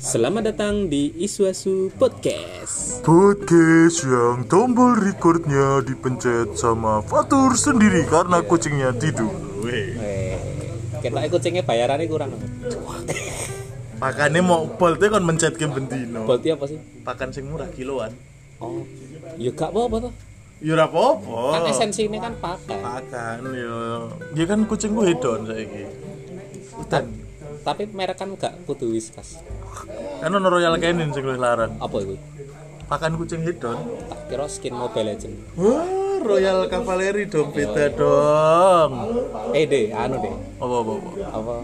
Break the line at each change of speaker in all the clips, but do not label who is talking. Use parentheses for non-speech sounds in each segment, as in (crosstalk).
Selamat datang di Iswasu Podcast.
Podcast yang tombol recordnya dipencet sama Fatur sendiri karena kucingnya tidur.
Eh, Kita kucingnya bayarannya kurang.
Makanya mau bolte kan mencet ke bentino.
Bolti apa sih?
Pakan sing murah kiloan.
Oh, ya gak apa-apa tuh.
Ya ora apa-apa.
Kan esensi ini kan pakai.
Pakan yo. Ya kan kucingku hedon saiki. Udan.
Tapi merek kan gak kudu whiskas.
Kan ono Royal Canin sing luwih larang.
Apa itu?
Pakan kucing hedon.
Tak kira skin Mobile Legend.
Wah, Royal Cavalry dong beda dong.
Eh deh, anu deh.
Apa apa apa.
Apa?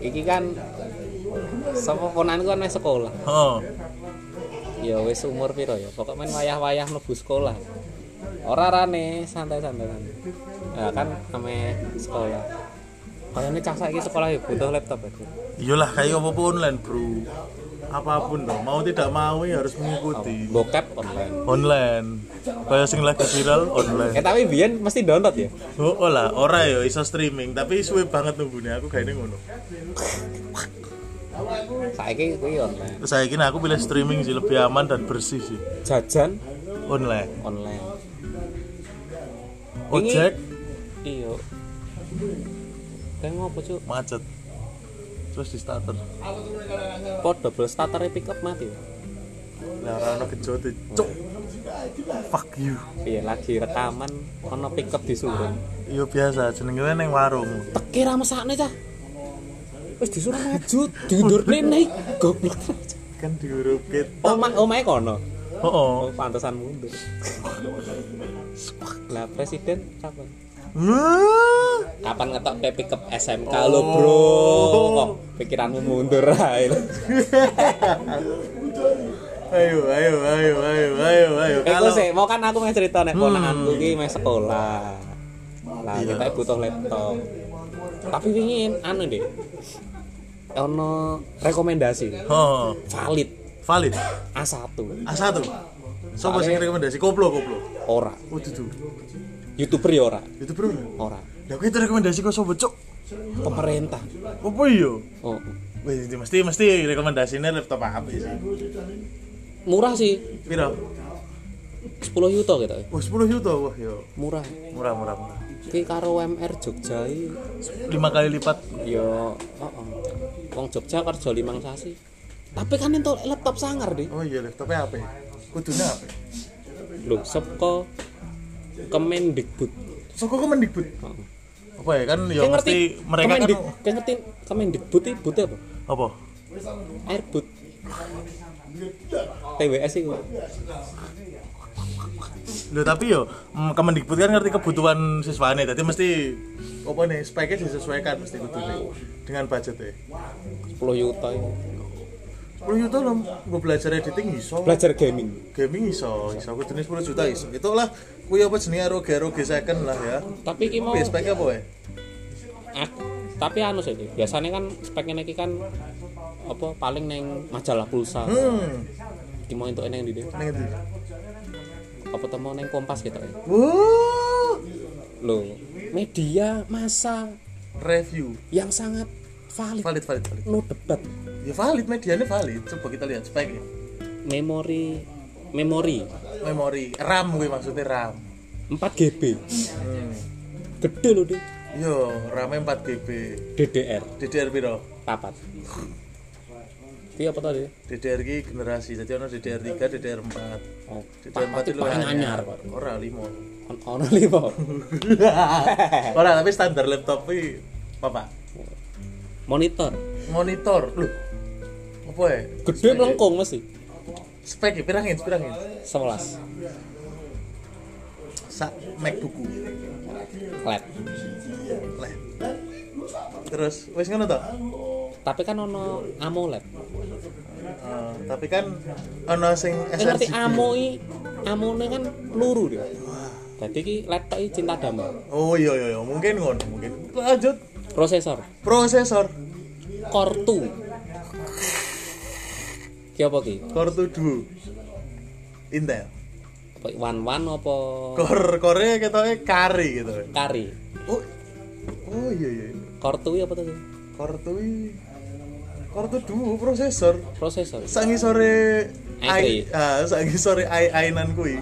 Iki kan sama ponanku kan masih sekolah.
Oh.
ya wis umur piro ya pokok main wayah-wayah mlebu sekolah ora rane santai-santai kan ya kan kame sekolah kayaknya cah saiki sekolah ya butuh laptop itu
Iyalah kayak apa pun online bro apapun dong mau tidak mau ya harus mengikuti
bokep online
online kayak sing lagi viral
eh
online
tapi biyen mesti download ya
oh oh lah ora yo iso streaming tapi suwe banget nunggunya aku kayaknya ngono
saiki kuwi online
saya kira aku pilih streaming sih lebih aman dan bersih sih
jajan
online
online
ojek
iya kayak ngopo cuk
macet terus di starter
pot double starter pick up mati
lah rano kejote cuk fuck you
iya lagi rekaman ono pick up disuruh
iya biasa jenengnya neng warung
teki ra mesakne cah wis disuruh maju diundurne naik goblok
kan diurut kita
omah omahe kono
oh, oh.
oh pantesan mundur lah presiden kapan
Wah.
kapan ngetok kayak pick up SMK lo bro kok pikiranmu mundur ae Eh, lho.
Ayo, ayo, ayo, ayo, ayo, ayo.
eh
Kalau
kok sih mau kan aku mau cerita nek ponakanku iki mau sekolah lah kita butuh laptop tapi pingin anu deh ono rekomendasi
oh,
valid
valid.
A1
A1. Sopo sing rekomendasi? Koplo, koplo.
ora
Oh, dudu.
youtuber ya ora
Itu bro.
ora
Lah kuwi itu rekomendasi kok sopo, Cuk?
pemerintah
Apa iya?
oh.
Wih, ini mesti mesti rekomendasinya laptop apa sih?
murah sih
Piro?
10 yuto gitu
Oh, 10 juta. Wah, yo.
murah
Murah, murah, murah.
ki karo UMR Jogja i-
5 kali lipat.
ya heeh wong Jogja kerja limang sasi tapi kan entuk laptop sangar deh
Oh iya, laptopnya apa? Kudune apa?
lho saka Kemendikbud
Soko kok mendikbud.
Heeh.
Apa ya kan yo
Kayak
mesti mereka kan
Kemendik kayak ngerti Kemendikbud itu but apa
apa?
Airbud TWS itu
Loh, tapi yo mm, Kemendikbud kan ngerti kebutuhan siswane, jadi mesti apa nih speknya disesuaikan mesti kudu nih, dengan e. budgetnya.
10 yuto itu.
10 juta lo gue belajar editing iso,
belajar gaming
gaming iso, iso aku jenis 10 juta iso. Itulah kuwi apa jenenge ROG ROG second lah ya.
tapi ki mau
Kuwi speknya apa ya?
Ah, tapi anu sih Dik. biasanya kan speknya ini kan apa paling neng majalah pulsa
Hmm,
Ki mau entuk neng di deh
ning ndi?
apa temu neng kompas gitu ya
Wuh,
lo media massa
review
yang sangat valid
valid valid valid.
no debat
Ya valid medianya valid. Coba kita lihat speknya.
memori memori
Memori RAM gue maksudnya RAM.
4 GB
Hmm.
gede lo deh
Yo, RAM 4 GB.
DDR
DDR piro?
papat Iya apa tadi
DDR ki generasi. Jadi ono DDR3, DDR4.
oh
DDR4
papat itu paling anyar Pak.
Ora limo.
On- ono lima
(laughs) Ora tapi standar laptop iki apa?
monitor
Monitor. Lho. Apa ya?
gede melengkung mesti
Spek ya, pirangin, pirangin.
11
Sak MacBook-ku.
LED
Lah. Terus wis ngono to?
tapi kan ono AMOLED
Eh, tapi kan ono sing
Eh, ngerti
sRGB.
amo i amone kan luru dia jadi ki LED tok i cinta damai
Oh iya iya iya, mungkin ngono, mungkin. Lanjut.
prosesor
Prosesor
Core 2 ki apa ki
Core 2 Duo. Intel.
apa one one apa
Core core ketoke kari gitu.
kari
Oh. Oh iya iya.
Core 2 apa tuh
Core tuh kartu duo prosesor
prosesor
sangi sore
i3.
ai ah sangi sore ai ainan kui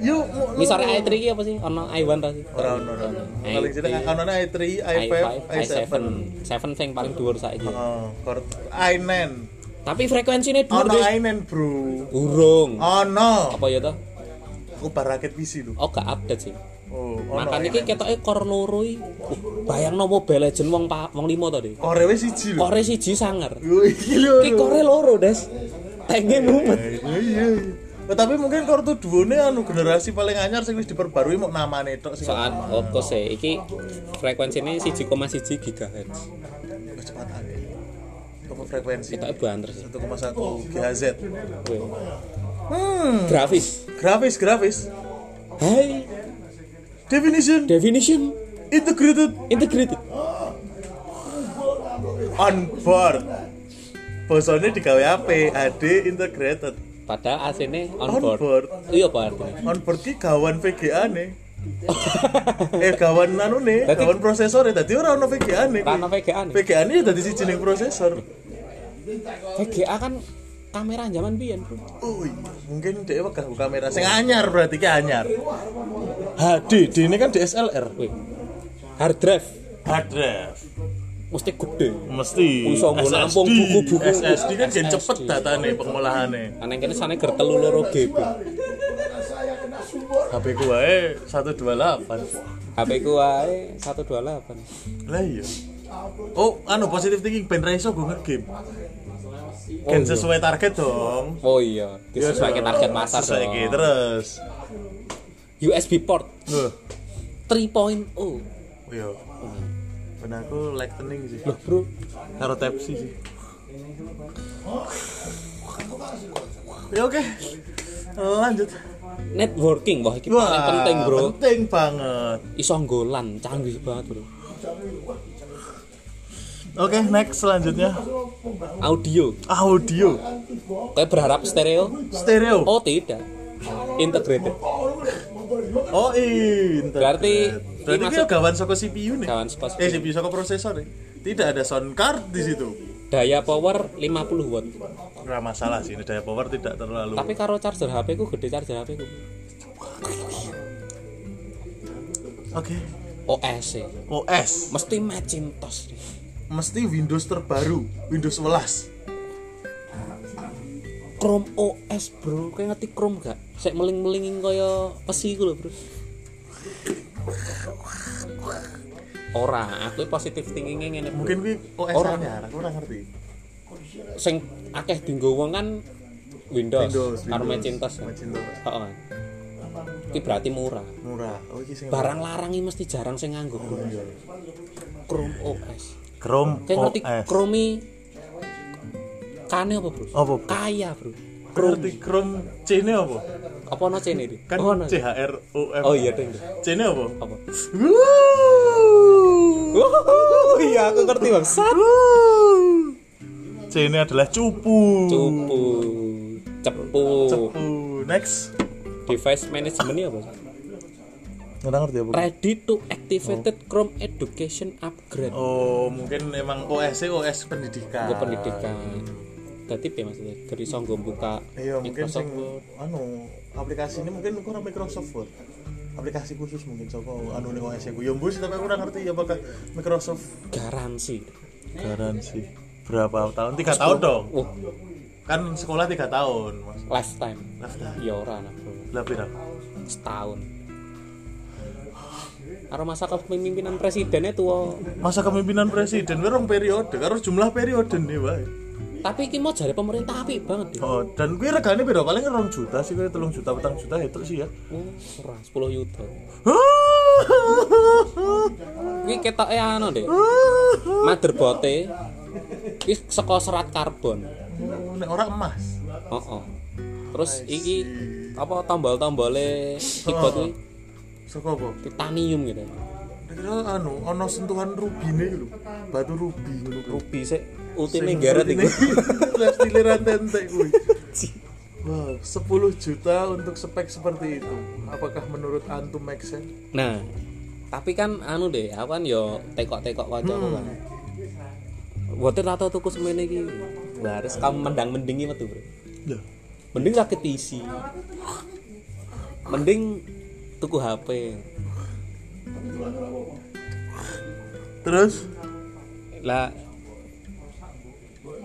yo
misalnya i3 ki apa sih ono i1 ta sih
ora ono ora ono.
I3,
paling sini ono i3 i5
i5
i7
i7 7 sing paling dhuwur saiki
oh kartu i9
tapi frekuensinya dhuwur
ono
deh
i9 bro
burung
ono
apa ya toh
aku barakit PC lho
oh gak update sih
oh ono
Makan iki ketoke core loro iki. Uh, bayangno Mobile Legends wong pa, wong 5 to, Dik.
korewe siji lho
Core siji sangar.
yo iki lho
Iki core loro, Des. Tenge mumet.
Eh, Iya, iya iya. Oh, tapi mungkin kartu duone anu generasi paling anyar sing wis diperbarui mau namane tok sing
Soal Oppo e iki frekuensine 1,1 GHz.
kecepatan. Apa frekuensi?
Ketoke banter sih.
1,1 GHz.
Weh.
Hmm,
Grafis.
grafis grafis.
Hai,
Definition
definition
integrated
integrated.
on board. Bosone digawe HP HD integrated
Padahal aslinya on
on
board.
board.
Iya apa (laughs) artinya?
On board ki gawan VGA ne. eh gawan anu ne,
Dadi-
gawan prosesor dadi ora ono VGA ne.
Karena VGA nih.
VGA ne dadi sijining prosesor.
VGA kan kamera zaman biyen, Bro.
Oh iya, mungkin dia wegah buka kamera. Sing anyar berarti ki anyar. HD, di ini kan DSLR.
Weh. Hard drive
Hard drive.
mesti gede.
Mesti.
Bisa nggo nampung buku-buku.
SSD kan gen
SSD.
cepet datane pengolahannya.
Aneh kene sana gertel lu loro GB.
HP ku wae 128.
HP ku wae 128.
Lah iya. Oh, anu positive thinking ben ra iso gue nge-game.
Oh,
Gen
iya.
sesuai target dong.
Oh iya, gitu. disesuaikan target pasar.
Sesuai
dong.
ki, terus.
USB port oh.
Loh,
3.0.
iya. Ben aku lightning sih.
Loh, Bro.
Karo type C sih. Ya oke.
Eh,
Lanjut.
Networking wah iki paling penting, Bro.
Penting banget.
Iso nggolan, canggih banget, Bro.
Oke, next selanjutnya
Audio.
audio
Kayak berharap stereo?
stereo.
Oh, tidak. Integrated.
Oh, internet.
Berarti-
berarti
ini
ini
masuk-
gawan saka CPU nih.
Kawan sepas.
Eh, CPU saka prosesor nih. Tidak ada sound card di situ.
Daya power 50 watt.
Enggak masalah sih, ini daya power tidak terlalu.
Tapi karo charger HP ku gede charger HP ku.
Oke.
OS. -e.
OS
Mesti Macintosh.
mesti Windows terbaru, Windows 11.
Chrome OS, Bro. Kayak ngerti Chrome gak? Sek meling-melingin kaya pesi ku lho, Bro. Ora, aku positif thinking ngene, Bro.
Mungkin kuwi OS
Orang.
anyar, aku ora ngerti.
sing akeh dienggo wong kan Windows,
Windows,
karo
Windows.
Macintosh. kan?
Macintosh.
Heeh. kan. Iki berarti murah.
Murah. Oh iki sing
Barang larang iki mesti jarang sing nganggo Bro.
iya.
Chrome OS.
Chrome
Kayak ngerti
OS.
Chrome i- kane apa, Bro?
Apa, Bro?
Kaya, Bro.
Ngerti Chrome C ini apa?
Apa ono cene iki?
Kan
Oh, ono.
C H R O M.
Oh iya, ding. ding.
C ini apa?
Apa?
Wuh.
Wuh, iya aku ngerti bang.
Wuh. C ini adalah cupu.
Cupu, cepu,
Cupu. Next.
device management apa?
Nggak ngerti apa?
Ready to activated Chrome Education Upgrade.
Oh, mungkin emang OS OS pendidikan.
Gue pendidikan. Jadi ya maksudnya dari songgo buka
Iya, mungkin sing
Microsoft
anu aplikasi ini mungkin kurang Microsoft Word. Aplikasi khusus mungkin saka anu ning OS ku. Ya mbus tapi aku ora ngerti apakah Microsoft
garansi.
garansi berapa tahun? Tiga tahun dong.
Uh,
Kan sekolah tiga tahun, Mas.
lifetime.
Lah, lah,
Ya ora anak bro.
Lah pira?
Setahun. Karo masa kepemimpinan presidennya tuh
Masa kepemimpinan presiden we rong periode, karo jumlah periode nih wae.
tapi iki mau jare pemerintah apik banget ya.
Oh, dan kuwi regane pira? Paling rong juta sih kuwi 3 juta, 4 juta itu sih ya. (laughs)
Oh, ora 10 yuta. Iki ketoke anu, Dik. motherboard-e iki saka serat karbon.
Nek ora emas.
Oh, oh. Terus iki apa tombol-tombole keyboard
Oh.
iki
Saka apa?
titanium gitu.
Kira anu ana sentuhan rubine iki lho. Batu rubi ngono kuwi.
Ruby sik utine nggaret iku.
(laughs) Plastik liran tentek (laughs) kuwi. Wow, 10 juta untuk spek seperti itu. Apakah menurut antum make sense?
Nah, tapi kan anu deh, aku kan yo tekok-tekok kancaku kan. Boten atau tuku semene iki. Nah, harus kamu mendang mendingi metu, Bro.
Lah,
Mending sakit isi. Mending tuku HP.
terus
Lah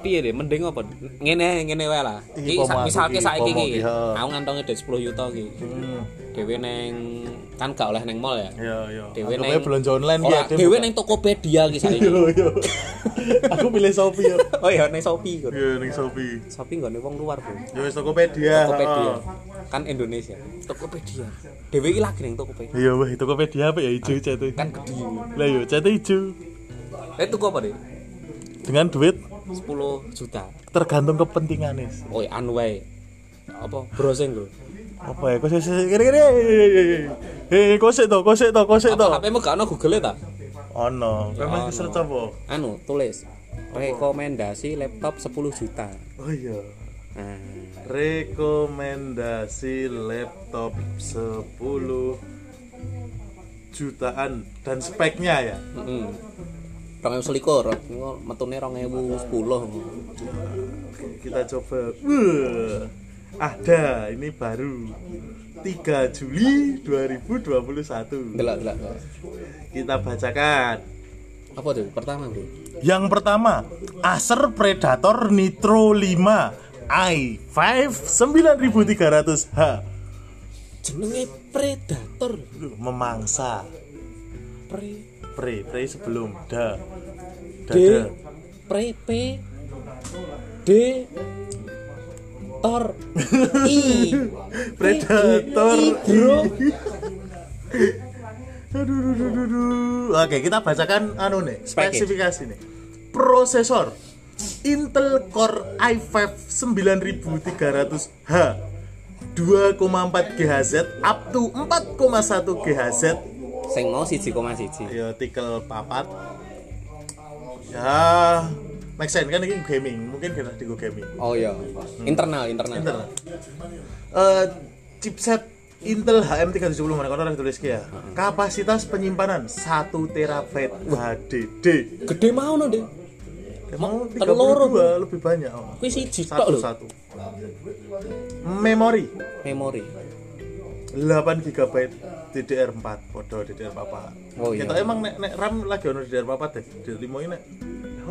piye deh mending apa ngene ngene wae lah iki
Iki
sa-
pomo aku
misalke
iki,
saiki
pomo
iki
iki, ha.
aku ngantongi duit 10 juta iki
hmm,
dhewe neng kan gak oleh neng mall ya
ya ya.
Dewe neng-
Anggapnya belanja online gitu ya,
ora
Dem,
dhewe
bukan?
neng Tokopedia iki
(laughs)
saiki
Yo yo. Aku pilih Shopee yo.
oh iya neng Shopee kok
Iya, ning Shopee.
Shopee nggone wong luar bro
Yo wis Tokopedia. Ah.
Tokopedia.
heeh.
Kan Indonesia. Tokopedia. Dewe iki lagi ning Tokopedia.
Iya weh, Tokopedia apa ya ijo cete.
Kan gede.
Lah iya, yo cete ijo.
Eh tuku apa deh?
Dengan duit
10 juta.
tergantung kepentingannya.
Oi anu wae. Apa browsing bro?
Apa ya? Kau sih kira kira. Hei, kau sih to, kau sih to, kau sih to.
Apa HP-mu gak ono Google-e ta?
Oh no, memang
Ono.
search apa?
Anu tulis rekomendasi laptop 10 juta.
Oh iya.
Nah,
Rekomendasi laptop 10 jutaan dan speknya ya.
heeh. 2021 metune 2010.
Kita coba. Wuh, ada ini baru 3 Juli 2021.
Delok delok. delok.
Kita bacakan.
Apa tuh pertama bro?
Yang pertama, Acer Predator Nitro 5 i5 9300H
Jenenge predator.
Duh, memangsa.
Pre
Pre, pre sebelum da.
D
Dada.
pre P D tor I
(laughs) Predator.
I,
(laughs)
bro
Aduh, aduh, aduh, aduh, aduh. Oke, kita bacakan anu nih,
Spek-nya.
spesifikasi nih. Prosesor Intel Core i5 9300H 2,4 GHz up to 4,1 GHz
sing mau siji koma siji
ya tikel papat ya make sense kan ini gaming mungkin kita di gaming
oh iya internal internal
Intel Eh, chipset Intel HM370 mana kono udah tulis ki ya. Kapasitas penyimpanan 1 terabyte HDD.
gede mau no deh
Emang
telur.
32 lebih banyak. Oh.
kuwi siji tok lho
Satu satu. Memori
memori
8 GB DDR4 podo DDR4
Oh, iya.
Kita emang nek, nek RAM lagi ono DDR4 deh. DDR5 ini nek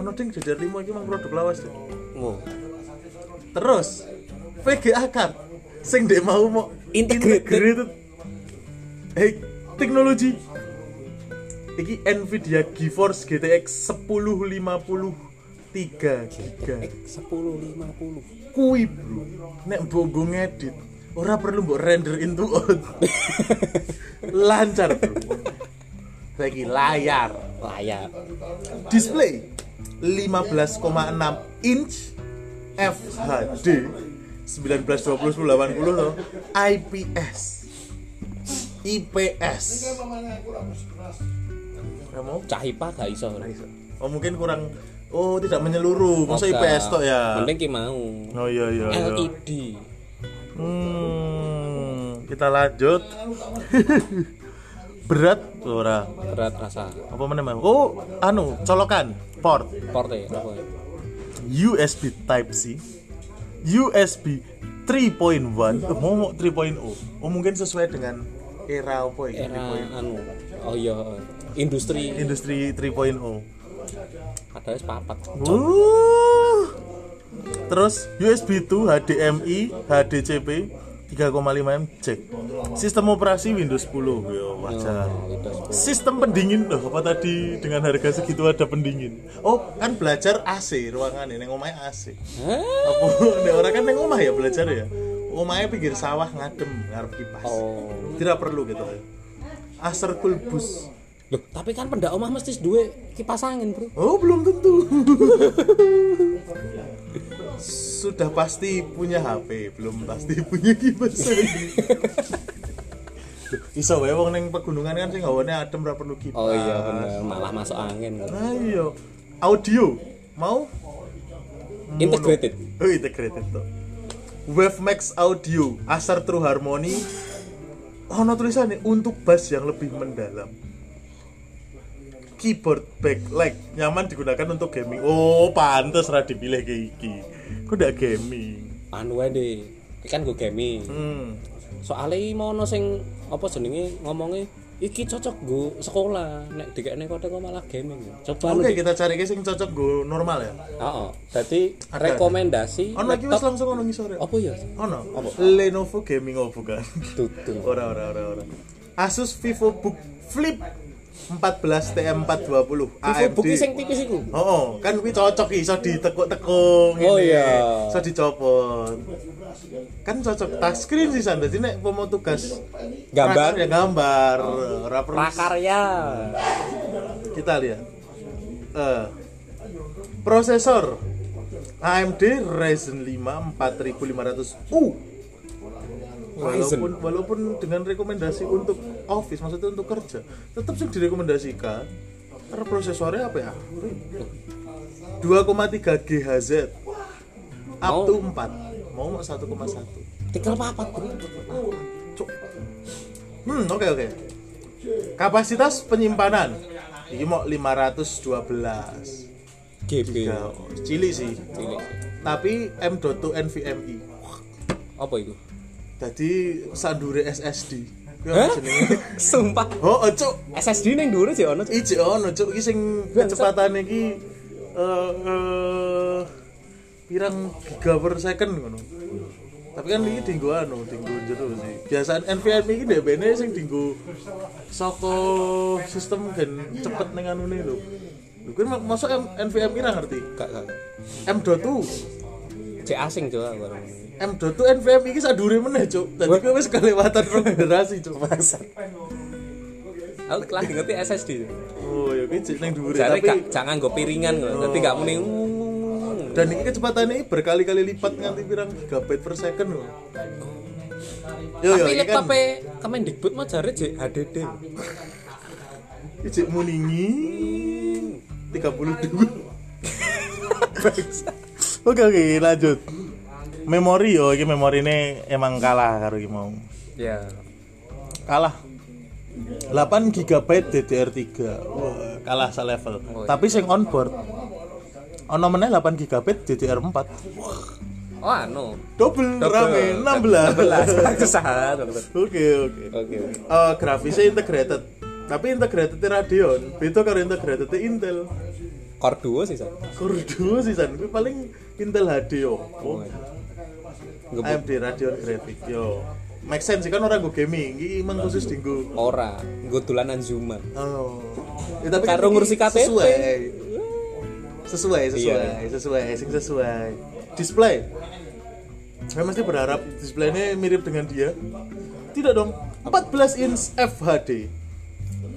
ono ding DDR5 iki mang produk lawas deh.
wow
Terus VGA card sing dek mau mau
Integrated.
Hey, teknologi iki Nvidia GeForce GTX 1050 3 giga
sepuluh lima puluh
kui bro nek mbok nggo ngedit ora perlu mbok render into out lancar bro lagi layar
layar
display 15,6 inch FHD 1920 80 tuh IPS IPS Ora mau?
cah ipa gak iso bro.
Oh mungkin kurang Oh tidak menyeluruh Masa
Moga.
IPS tok ya
mending ki mau
Oh iya iya iya
LED
Hmm, Kita lanjut (laughs) Berat ora
berat rasa
Apa namanya? Oh anu colokan Port
port ya apa ya?
USB Type C, USB 3.1, eh, mau mau 3.0. Oh mungkin sesuai dengan era apa ya?
era anu oh iya industri
Industri oh. 3.0.
padahal sepapat
Uh. Terus USB 2 HDMI, HDCP 3,5 m jack. Sistem operasi Windows 10. Yo, wajar.
Oh,
Sistem pendingin loh, apa tadi dengan harga segitu ada pendingin? Oh, kan belajar AC ruangan ini ngomongnya AC.
Hah?
apa (laughs) nek orang kan neng omah ya belajar ya omahnya pinggir sawah ngadem ngarep kipas
Oh.
tidak perlu gitu Ah, Acer kulbus
Loh, tapi kan pendak omah mesti duwe kipas angin, Bro.
oh belum tentu (laughs) sudah pasti punya HP belum pasti punya kipas (laughs) angin. iso wae wong neng pegunungan kan sing hawane adem ora perlu kipas
Oh iya bener, malah masuk angin. Bro.
nah iya audio mau
Integrated.
Oh, integrated tuh. Wavemax Audio, Acer True Harmony. Ono tulisannya untuk bass yang lebih mendalam. keyboard backlight nyaman digunakan untuk gaming oh pantes ra dipilih kayak iki kok ndak gaming
anu ae deh Iki kan gue gaming
hmm.
soalnya iki mau ono sing apa jenenge ngomongnya iki cocok gue sekolah nek dikene kote kok malah gaming coba lu
oke
Dik.
kita cari ke sing cocok gue normal ya
Oh, jadi
Ada.
rekomendasi
ono iki wis
laptop
langsung ono ngisor ya
apa ya?
ono
Apa?
Lenovo gaming opo kan
Tutu.
(laughs) ora ora ora ora Asus VivoBook Flip 14 TM420
Vivo
AMD
buki sing tipis iku.
Oh, oh, kan kuwi cocok iki, iso ditekuk-tekuk
Oh,
ngene.
iya.
Iso dicopot. Kan cocok touchscreen sih San. Dadi nek pomo tugas
Gambar.
ya gambar, ora perlu.
Prakarya.
Kita lihat. Eh. Prosesor AMD Ryzen 5 4500U. Walaupun walaupun dengan rekomendasi untuk office, maksudnya untuk kerja, tetap sih direkomendasikan. Karena prosesornya apa ya? 2,3 GHz up to 4 mau mau 1,1
Tikel papat, Bro.
Cuk. hmm oke oke kapasitas penyimpanan ini mau 512
GB.
ya, cilik sih
Cilik.
tapi M.2 NVMe
Apa iku?
jadi sandure SSD Kuwi
Hah?
(laughs) apa jenenge?
Sumpah.
oh oh, cuk
SSD ning dhuwur sih ono. Cuk.
Iji ono cuk iki sing kecepatan iki eh eh, pirang giga per second ngono. Tapi kan iki dinggo anu, dinggo jero sih. Biasaan NVMe iki DBN sing dinggo saka sistem gen cepet ning anune lho. Lho kuwi mak- masuk M- NVMe ra ngerti.
Gak gak.
M.2
Cek asing tuh aku.
M.2 NVMe iki sadure meneh cuk. Dadi kuwi wis kelewatan (laughs) rong generasi cuk.
Aku kelas ngerti SSD. Cuk.
Oh, ya kuwi jek ning dhuwure
Jare
tapi Oh.
gak jangan nggo piringan ngono. Dadi gak muni.
dan ini kecepatannya ini berkali-kali lipat nganti pirang gigabyte per second loh yo yo
Tapi
ini kan
laptop Kemendikbud mau jare jek HDD.
ijik muningi 32 (laughs) oke oke lanjut memori yo ini memori ini emang kalah karo iki mau
Ya.
kalah 8 GB DDR3 Wah, kalah selevel tapi sing onboard ono meneh 8 GB DDR4 Wah,
Oh anu.
double, rame 16
Kesahan.
(laughs) oke oke
Oke. oke.
Eh, grafisnya integrated tapi integrated Radeon beda karo integrated Intel
Core duo sih, Cuk.
kurdu sih san Kuwi paling Intel HD yo
Oh. Ngebut
AMD Radeon grafik yo make sense sih kan orang gue gaming ini emang khusus dinggo
ora, nggo dolanan Zuma.
oh ya, tapi
Karo
ini
ngurusi KTP.
sesuai sesuai
Iya.
sesuai sesuai sing sesuai display saya mesti berharap displaynya mirip dengan dia tidak dong 14 inch FHD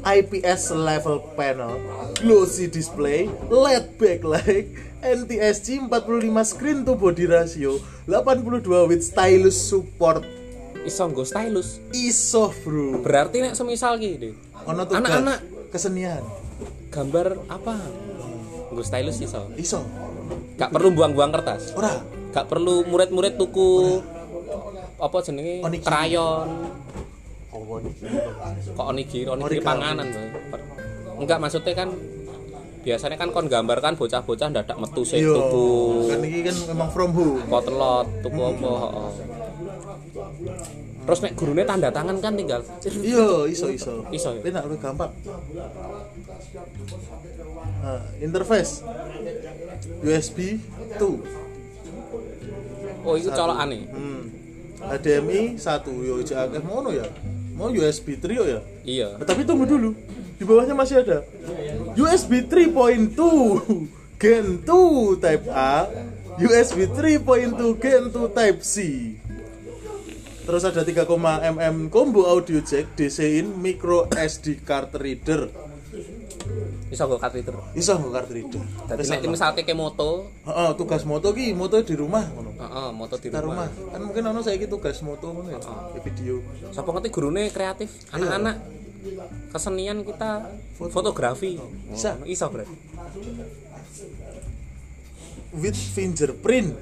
IPS level panel, glossy display, LED backlight, NTSC 45 screen to body ratio, 82 with stylus support,
Iso nggo stylus.
ISO bro.
Berarti nek semisal ki, Dik.
Ono tugas
Anak-anak.
kesenian,
Gambar apa? Nggo stylus iso.
ISO.
Gak perlu buang-buang kertas.
Ora,
Gak perlu murid-murid tuku apa jenenge
Onigiri.
krayon.
Oh,
Kok onigiri, onigiri
Origami.
panganan. Bro. Enggak maksudnya kan biasanya kan kon gambarkan bocah-bocah dadak metu sih
Yo,
tuku
kan ini kan memang from home.
kotelot tuku apa heeh. terus nek gurunya tanda tangan kan tinggal
Iya, iso iso.
Iso, ya?
Enak lu gampang. Nah, interface USB 2.
oh itu colokan nih
Hmm. HDMI 1 yo ijek akeh ngono ya. Mau USB 3 yo ya.
iya
Nah, tapi tunggu dulu. Di bawahnya masih ada USB 3.2 Gen 2 Type A, USB 3.2 Gen 2 Type C. Terus ada 3, mm combo audio jack DC-in micro SD card reader.
bisa gue kartu itu
Iso nggo card reader.
Jadi
Wes
nek
ono.
misalnya kayak moto
Heeh, tugas moto ki, moto di rumah ngono.
heeh, moto di
Di rumah.
rumah
Kan mungkin ono saiki tugas moto ngono ya, di video.
siapa ngerti gurunya kreatif anak-anak kesenian kita fotografi
Bisa.
Oh, iso berarti
with fingerprint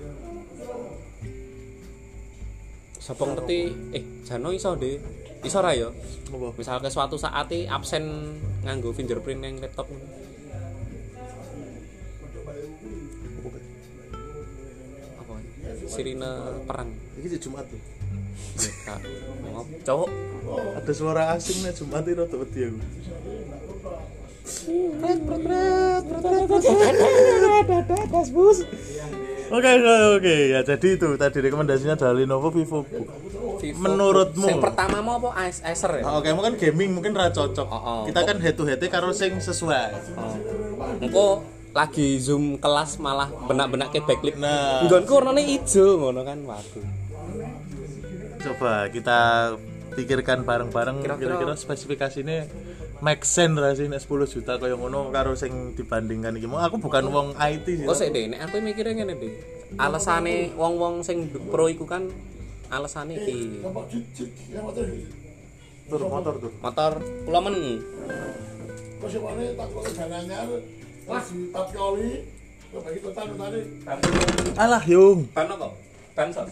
siapa ngerti eh Jano iso deh Iso ora ya?
Apa?
Misalnya suatu saat iki absen nganggo fingerprint yang laptop apa? Sirine perang.
Ini di Jumat tuh.
Nah, ngop. Cowok.
Ada suara asing nih Jumat ini rada wedi aku. Oke oke oke ya jadi itu tadi rekomendasinya dari Lenovo Vivo Book.
Vivo.
Menurutmu?
Yang pertama mau apa? Ais- Acer ya?
Nah, Oke, mungkin gaming mungkin ra cocok.
Oh, oh.
Kita kan head to head karo sing sesuai.
Engko lagi zoom kelas malah benak-benak ke backlit.
Nah.
Nggonku warnane ijo ngono kan. Waduh.
Coba kita pikirkan bareng-bareng
Kira-kira-
kira-kira spesifikasinya make sense ra sih nek 10 juta kaya ngono karo sing dibandingkan iki. Mau aku bukan wong IT sih.
Kok sik deh, nek aku mikirnya ngene deh. Alasane wong-wong sing pro iku kan alasane iki.
tur motor tur.
Motor kula men.
Alah, Yung.
Ban apa? Ban sos.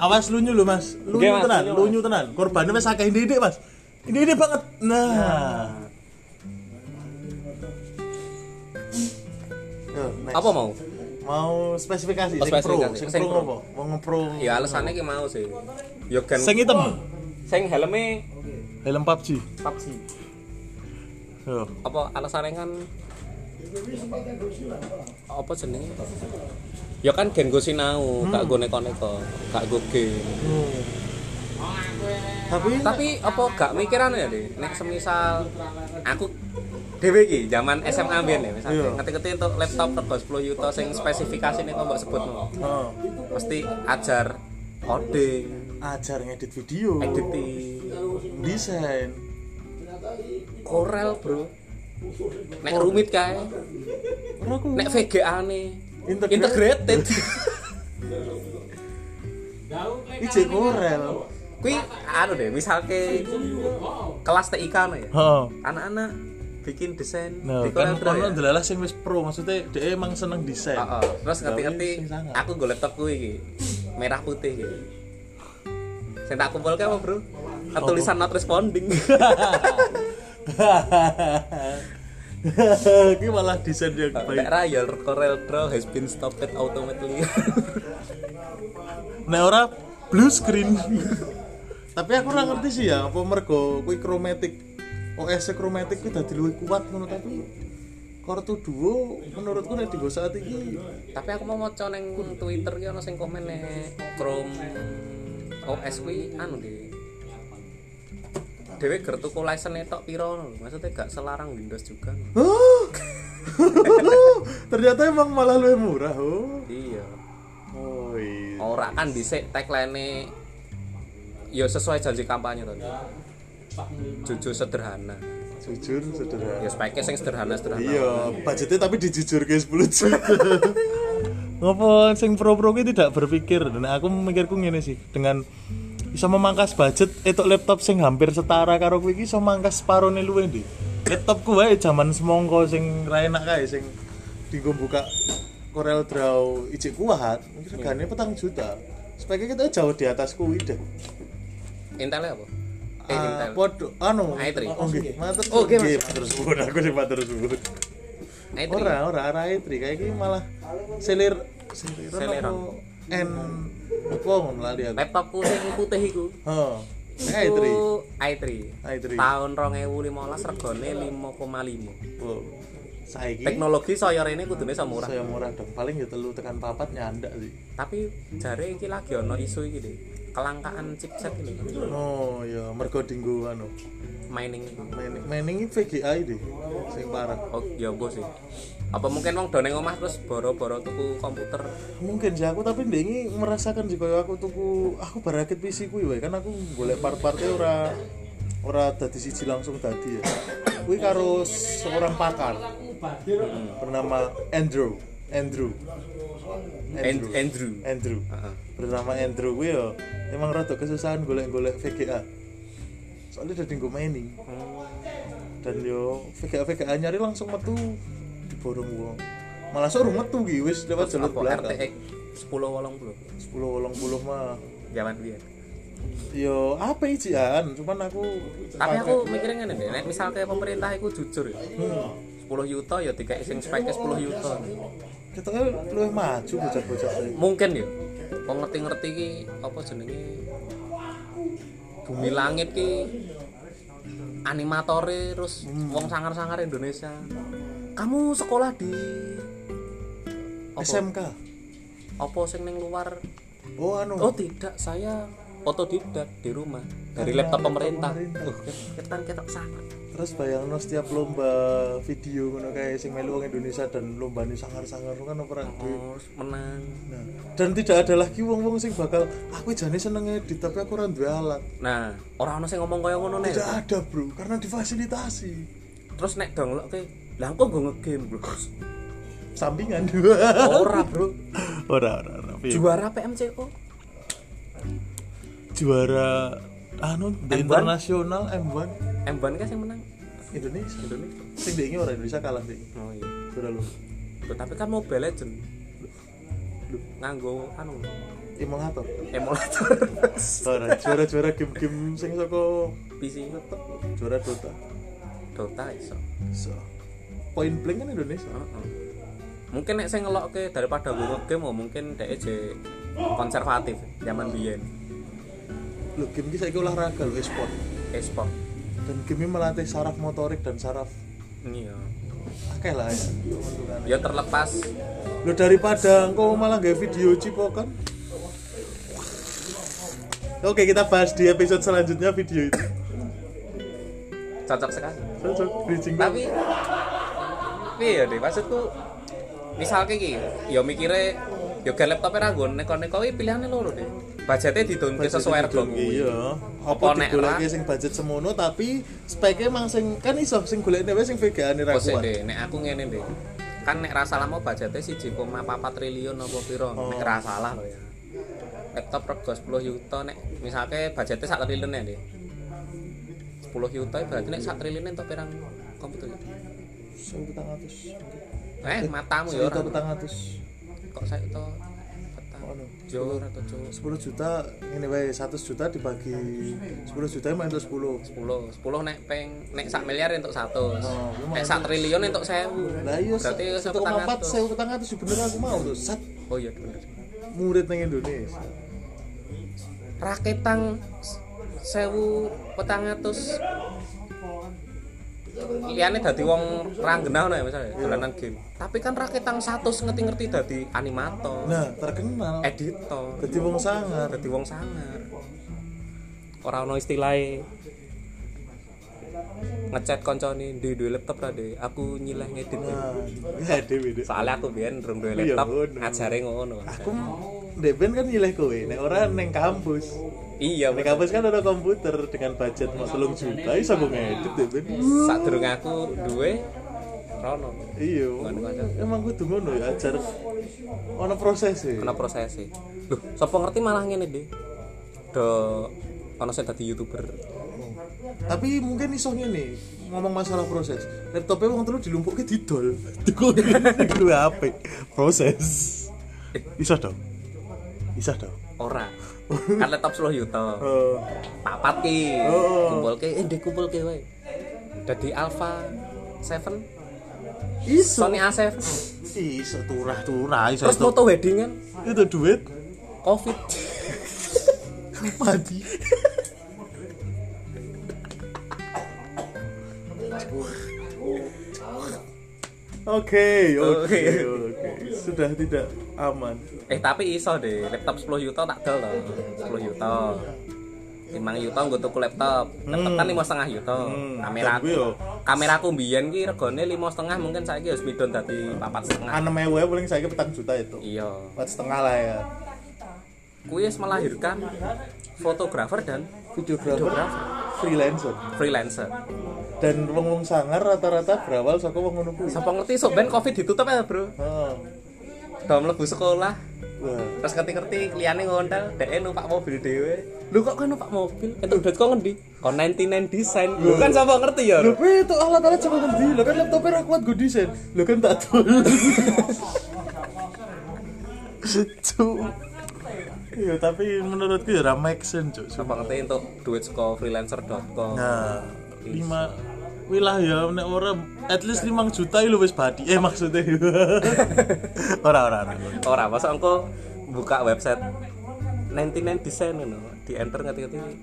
Awas lunyu lho, Mas. Lunyu
Nggih, Mas,
tenan,
lunyu, Mas.
lunyu tenan. Korbannya wis akeh ndidik, Mas. Ndidik banget. Nah. Yo, next.
Apa mau?
Mau spesifikasi
Oh,
sing pro,
spesifikasi.
sing
Sing
pro
pro.
apa? Wong pro.
Ya alasane ki mau sih. Yo gen
Sing hitam,
sing helme
helm PUBG.
PUBG.
Yo.
Apa alasane kan apa jenenge? Ya kan gen go sinau, gak go neko-neko, gak go game.
Tapi
tapi apa gak mikiran ya deh nek semisal aku dhewe iki zaman SMA mbiyen ya
Iya.
misalnya ngetik-ngetik untuk laptop rego 10 yuta sing spesifikasine kok mbok sebut no.
oh,
mesti ajar coding
ajar ngedit video,
editing
desain.
Corel bro nek rumit kae
Ora aku.
nek VGA ne
Integrated.
integrated (laughs)
Ijek Corel.
kuwi anu deh misalke kelas TIK no ya
Heeh.
anak-anak bikin desain di
Nah, kan
Corel Draw
ono delalah sing wis pro, maksudnya dia emang seneng desain.
Heeh, terus ngerti-ngerti
Tapi sing sangat.
aku golek laptop kuwi iki. Merah putih iki. Sing tak kumpulke apa, Bro? Ketulisan not responding.
(laughs)
(laughs)
Ini malah desain yang
Nek
baik.
ra ya Corel Draw has been stopped (laughs) automatically.
Nah ora blue screen. Tapi aku ora ngerti sih ya, apa mergo kuwi chromatic. OS chromatic kuwi dadi luwih kuat ngono tapi Kortu Duo menurutku nek dienggo saat iki
Tapi aku mau maca ning Twitter ki ono sing komen nek Chrome OS kuwi anu di Dewe ger tuku license tok piro ngono lho. Maksudnya gak selarang Windows juga.
Hah? (laughs) Ternyata emang malah lebih murah. Oh.
Iya.
Oh iya.
Ora kan dhisik tagline ya sesuai janji kampanye to. Jujur sederhana.
Jujur sederhana.
Ya speknya sing sederhana-sederhana.
Iya, budgetnya tapi dijujur ke 10 juta. (laughs) Ngopo sing pro-pro ki tidak berpikir dan aku mikirku ngene sih dengan bisa memangkas budget itu laptop sing hampir setara karo kuwi iki iso mangkas separone luwe ndi. Laptopku wae jaman semongko sing ra enak kae sing dienggo buka Corel Draw ijik kuat, mungkin regane petang juta. Speknya kita jauh di atas kuwi deh.
Intel apa? Eh,
Ah,
Intel.
Pod anu.
i3.
Oh nggih, matur.
Oh, nggih,
nggih, matur suwun aku sing matur suwun.
i3.
Ora, ora arah i3 kayak gini malah selir seliran
Seliran.
apa? N apa ngono lali aku.
Laptopku sing putih iku.
Heeh. i3.
Iku i3.
i3.
Tahun 2015 regane 5,5.
Wow. Saiki
Teknologi saya rene kudune iso murah.
saya murah dong. Paling ya telu tekan papat nyandak sih.
Tapi jare iki lagi ono isu iki deh. Kelangkaan chipset ini
Oh ya, mergo dinggo anu.
mining iku.
Mening mening iki VGA iki deh. Sing parah.
Oh, ya mbok sih. Apa mungkin wong do ning omah terus boro-boro tuku komputer
Mungkin sih aku tapi ndengi merasakan sih kalau aku tuku aku barakit PC kuwi wae kan aku golek part-partnya ora ora dadi siji langsung dadi ya. Kuwi karo seorang pakar. Hmm, bernama Andrew Andrew
And-
Andrew
Andrew.
Andrew
Heeh.
bernama Andrew gue yo emang rada kesusahan golek-golek VGA soalnya udah tinggal mining dan yo VGA VGA nyari langsung metu diborong wong malah suruh metu gitu wis lewat jalur
apa
belakang
RTX 1080
10 wolong puluh mah
zaman biyen.
yo apa sih An? cuman aku
tapi aku mikirnya ngene deh nek misalnya pemerintah iku jujur ya 10 yuto ya tiga sing speknya 10 yuto
kita kan lebih maju bocah-bocah sih
mungkin ya kok ngerti-ngerti ki apa jenenge bumi langit ki animatore terus wong sangar-sangar Indonesia kamu sekolah di apa,
SMK
apa sing ning luar
oh anu
oh tidak saya otodidak di rumah dari laptop
Karena laptop
pemerintah
pemerintah.
Wah, kita kita sangat
terus bayangno setiap lomba video ngono kayak sing melu wong Indonesia dan lomba ini sangar-sangar kan ora duwe.
terus menang
Nah, dan tidak ada lagi wong-wong sing bakal aku jane seneng edit tapi aku ora duwe alat.
nah orang ono sing ngomong kaya ngono nek
Tidak ada, Bro, karena difasilitasi.
terus nek download ke lah kok gue ngegame bro
Sampingan.
Oh, ora bro
(laughs) ora ora ora. Ju-
juara PMCO
Juara anu
M1?
the internasional M1
M1 kan yang menang
Indonesia.
Indonesia
Sing dingi ora Indonesia kalah dingi.
oh iya
Sudah lu.
Loh, tapi kan Mobile Legend nganggo anu
Emulator.
emulator (laughs)
Ora juara-juara game-game sing saka
PC
laptop. Juara Dota.
Dota iso
So. Point blank kan Indonesia.
Heeh. mungkin nek saya ngelok ke daripada gue ngegame oh, mungkin dia je konservatif zaman biyen
Lho, game iki saiki olahraga lho e-sport.
e-sport
Dan game ini melatih saraf motorik dan saraf
iya
akeh lah
ya
ya.
terlepas
Lo daripada engkau malah nggak video cipokan. Oke kita bahas di episode selanjutnya video itu.
cocok sekali
Cocok bridging.
tapi tapi ya deh maksudku misalnya ki ya mikirnya ya ke laptopnya ragu neko neko ini pilihannya loro deh budgetnya didonke sesuai harga kuwi.
Iya.
Apa
Apa
nek
digoleki
ra?
sing budget semono tapi speknya emang sing kan iso sing golekne wae sing vegane ra
Terus ya,
kuat.
deh nek aku ngene deh kan nek ra salah mau budgetnya 1,4 triliun apa piro
Oh.
nek ra salah lho ya laptop rego 10 juta nek misalnya budgetnya 1 triliun ya deh 10 juta berarti nek 1 triliun entuk pirang komputer Eh, ya?
1400.
eh matamu ya
Yo
ora
1400.
kok saya itu petang
Ono.
jor atau jor
10 juta ini wae 100 juta dibagi 10 juta emang untuk 10.
10 10 nek peng nek sak miliar entuk 100
Oh,
nek sak triliun entuk 1000
Lah iya
Berarti
1,4
1,400.
1,400 bener aku mau tuh. Sat
oh iya bener
murid nang Indonesia.
raketang 1000 petang atus liane dadi wong ranggenah ngono ya misalnya dolanan game tapi kan raketang 100 ngerti-ngerti dadi animator
Nah, terkenal.
Eh, editor
Dadi wong sangar.
dadi wong sangar ora ono istilahe ngechat koncone di duwe laptop ra Dek? aku nyileh ngedit Dek."
Nah, ya dhewe dhewe.
soalnya aku biyen rung duwe
Iya,
laptop
ngono.
ngajare ngono
Aku Deben kan nyileh kowe, nek ora neng kampus.
iya
Neng
bener.
kampus kan ada komputer dengan budget mau selung juta iso gue ngedit ya, Deben.
sadurunge aku duwe rono
Iya. Emang kudu ngono ya ajar ono proses e.
kena proses sih loh sapa ngerti malah ngene deh do ono sing dadi youtuber
Tapi mungkin iso ngene ngomong masalah proses. Laptopnya wong telu dilumpukke didol. (laughs) Kuwi HP. Proses.
Eh.
Iso dong. Iso dong.
ora (laughs) kan laptop 10 juta
Eh,
papat ki
Oh.
kumpulke eh ndek kumpulke wae dadi alpha 7
iso.
Sony A7
Iso turah-turah iso
terus
itu.
foto weddingan
Itu duit
covid (laughs)
mati Oke, oke,
Oke.
oke. Sudah tidak aman.
eh tapi iso deh laptop 10 juta tak dol loh 10 juta 5 juta gue tuku laptop laptop kan lima setengah juta kamera
Hmm. Dan
aku
gue yo.
kamera aku mbiyen ki regane lima setengah mungkin saiki wis midon dadi papat setengah
Anem ewe paling saya petang juta itu.
iya
Empat setengah lah ya.
kuwi wis melahirkan fotografer dan
Videografer,
videografer
freelancer.
freelancer
Dan wong-wong sangar rata-rata berawal saka wong ngono kuwi.
sapa ngerti sok ben covid ditutup ya bro
Heeh.
do mlebu sekolah
Wah.
terus ngerti-ngerti liyane ngontel dhek numpak mobil dhewe lu kok kan numpak mobil itu udah kok ngendi oh 99 design lu kan sapa ngerti ya
Lho kuwi itu alat-alat sama ngendi? Lho kan laptopnya ra kuat gue desain. Lho kan tak dol. Cuk. Iya, tapi menurutku ya ra make sense, Cuk.
Apa katanya untuk duit saka freelancer.com.
Nah, 5 wilah ya nek ora at least 5 juta lho wis badi. Eh maksudnya. (laughs) ora ora ora.
Ora, masa engko buka website 99 design ngono, di enter ngetik-ngetik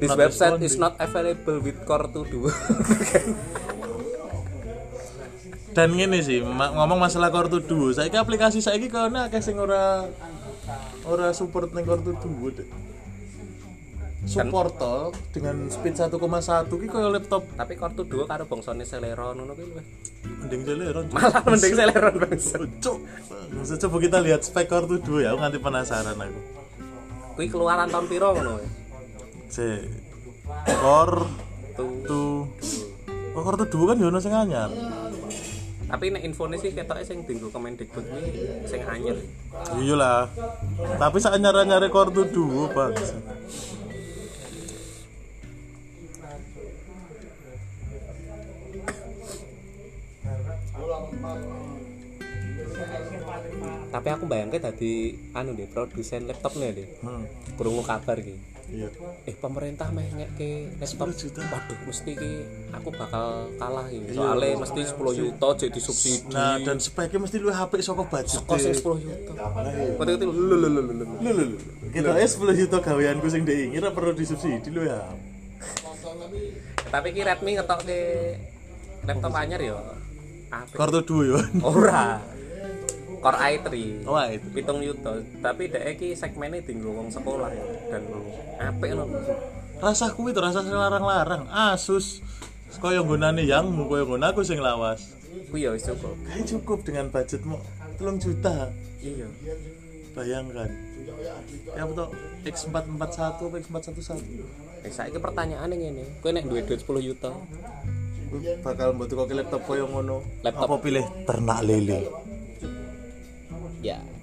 This
Not
website is not available with core to do. (laughs)
Dan ngene sih, ma- ngomong masalah Core2 Duo, saiki aplikasi saiki kono akeh sing ora ora support ning Core2 Duo. Dek. Support to dengan speed 1,1 ki koyo laptop
Tapi core to do karo bangsane Celeron ngono kuwi luwih. (laughs)
mending celeron. Cuk.
Malah mending Celeron bangsa.
Cuk. Maksud coba kita lihat spek Core2 Duo ya, aku nganti penasaran aku.
Kuwi keluaran tahun piro ngono kuwi?
C. Core
Tuh.
tuh Oh, Core2 Duo kan yo ono sing anyar.
Tapi nek infone sih ketoke sing dienggo Kemendikbud kuwi sing anyar.
Iya lah. Tapi saat nyara nyari kortu dua pak.
Tapi aku bayangke tadi anu deh produsen laptop nih deh.
Hmm.
Krungu kabar iki.
Iya.
eh pemerintah meh ngeke laptop
10 juta.
waduh mesti ki aku bakal kalah ini soalnya mesti 10 juta jadi subsidi
Nah dan speknya mesti lu HP soko budget.
kok sing 10 juta berarti itu lho lho lho lho
Lu lu lu. Kita es 10 juta gaweanku sing diingin ora perlu disubsidi lu ya.
tapi ki Redmi ngetok ke laptop anyar ya apa
Kortu dua yo.
ora Core i3
Oh itu.
pitung yuta tapi dek ki segmennya tinggal wong sekolah ya dan apik lho
Rasa kuwi tuh rasa larang-larang. Asus. Kau yang gunane yang mu, kau yang gunane aku sing lawas.
kuwi ya wis cukup
Kayak cukup dengan budgetmu. Telung juta.
iya
Bayangkan. Ya betul. X441 apa X411.
eh saiki pertanyaannya ngene kowe nek duwe duit 10 juta
bakal butuh koki laptop koyo ngono
Laptop.
apa pilih ternak lele
ya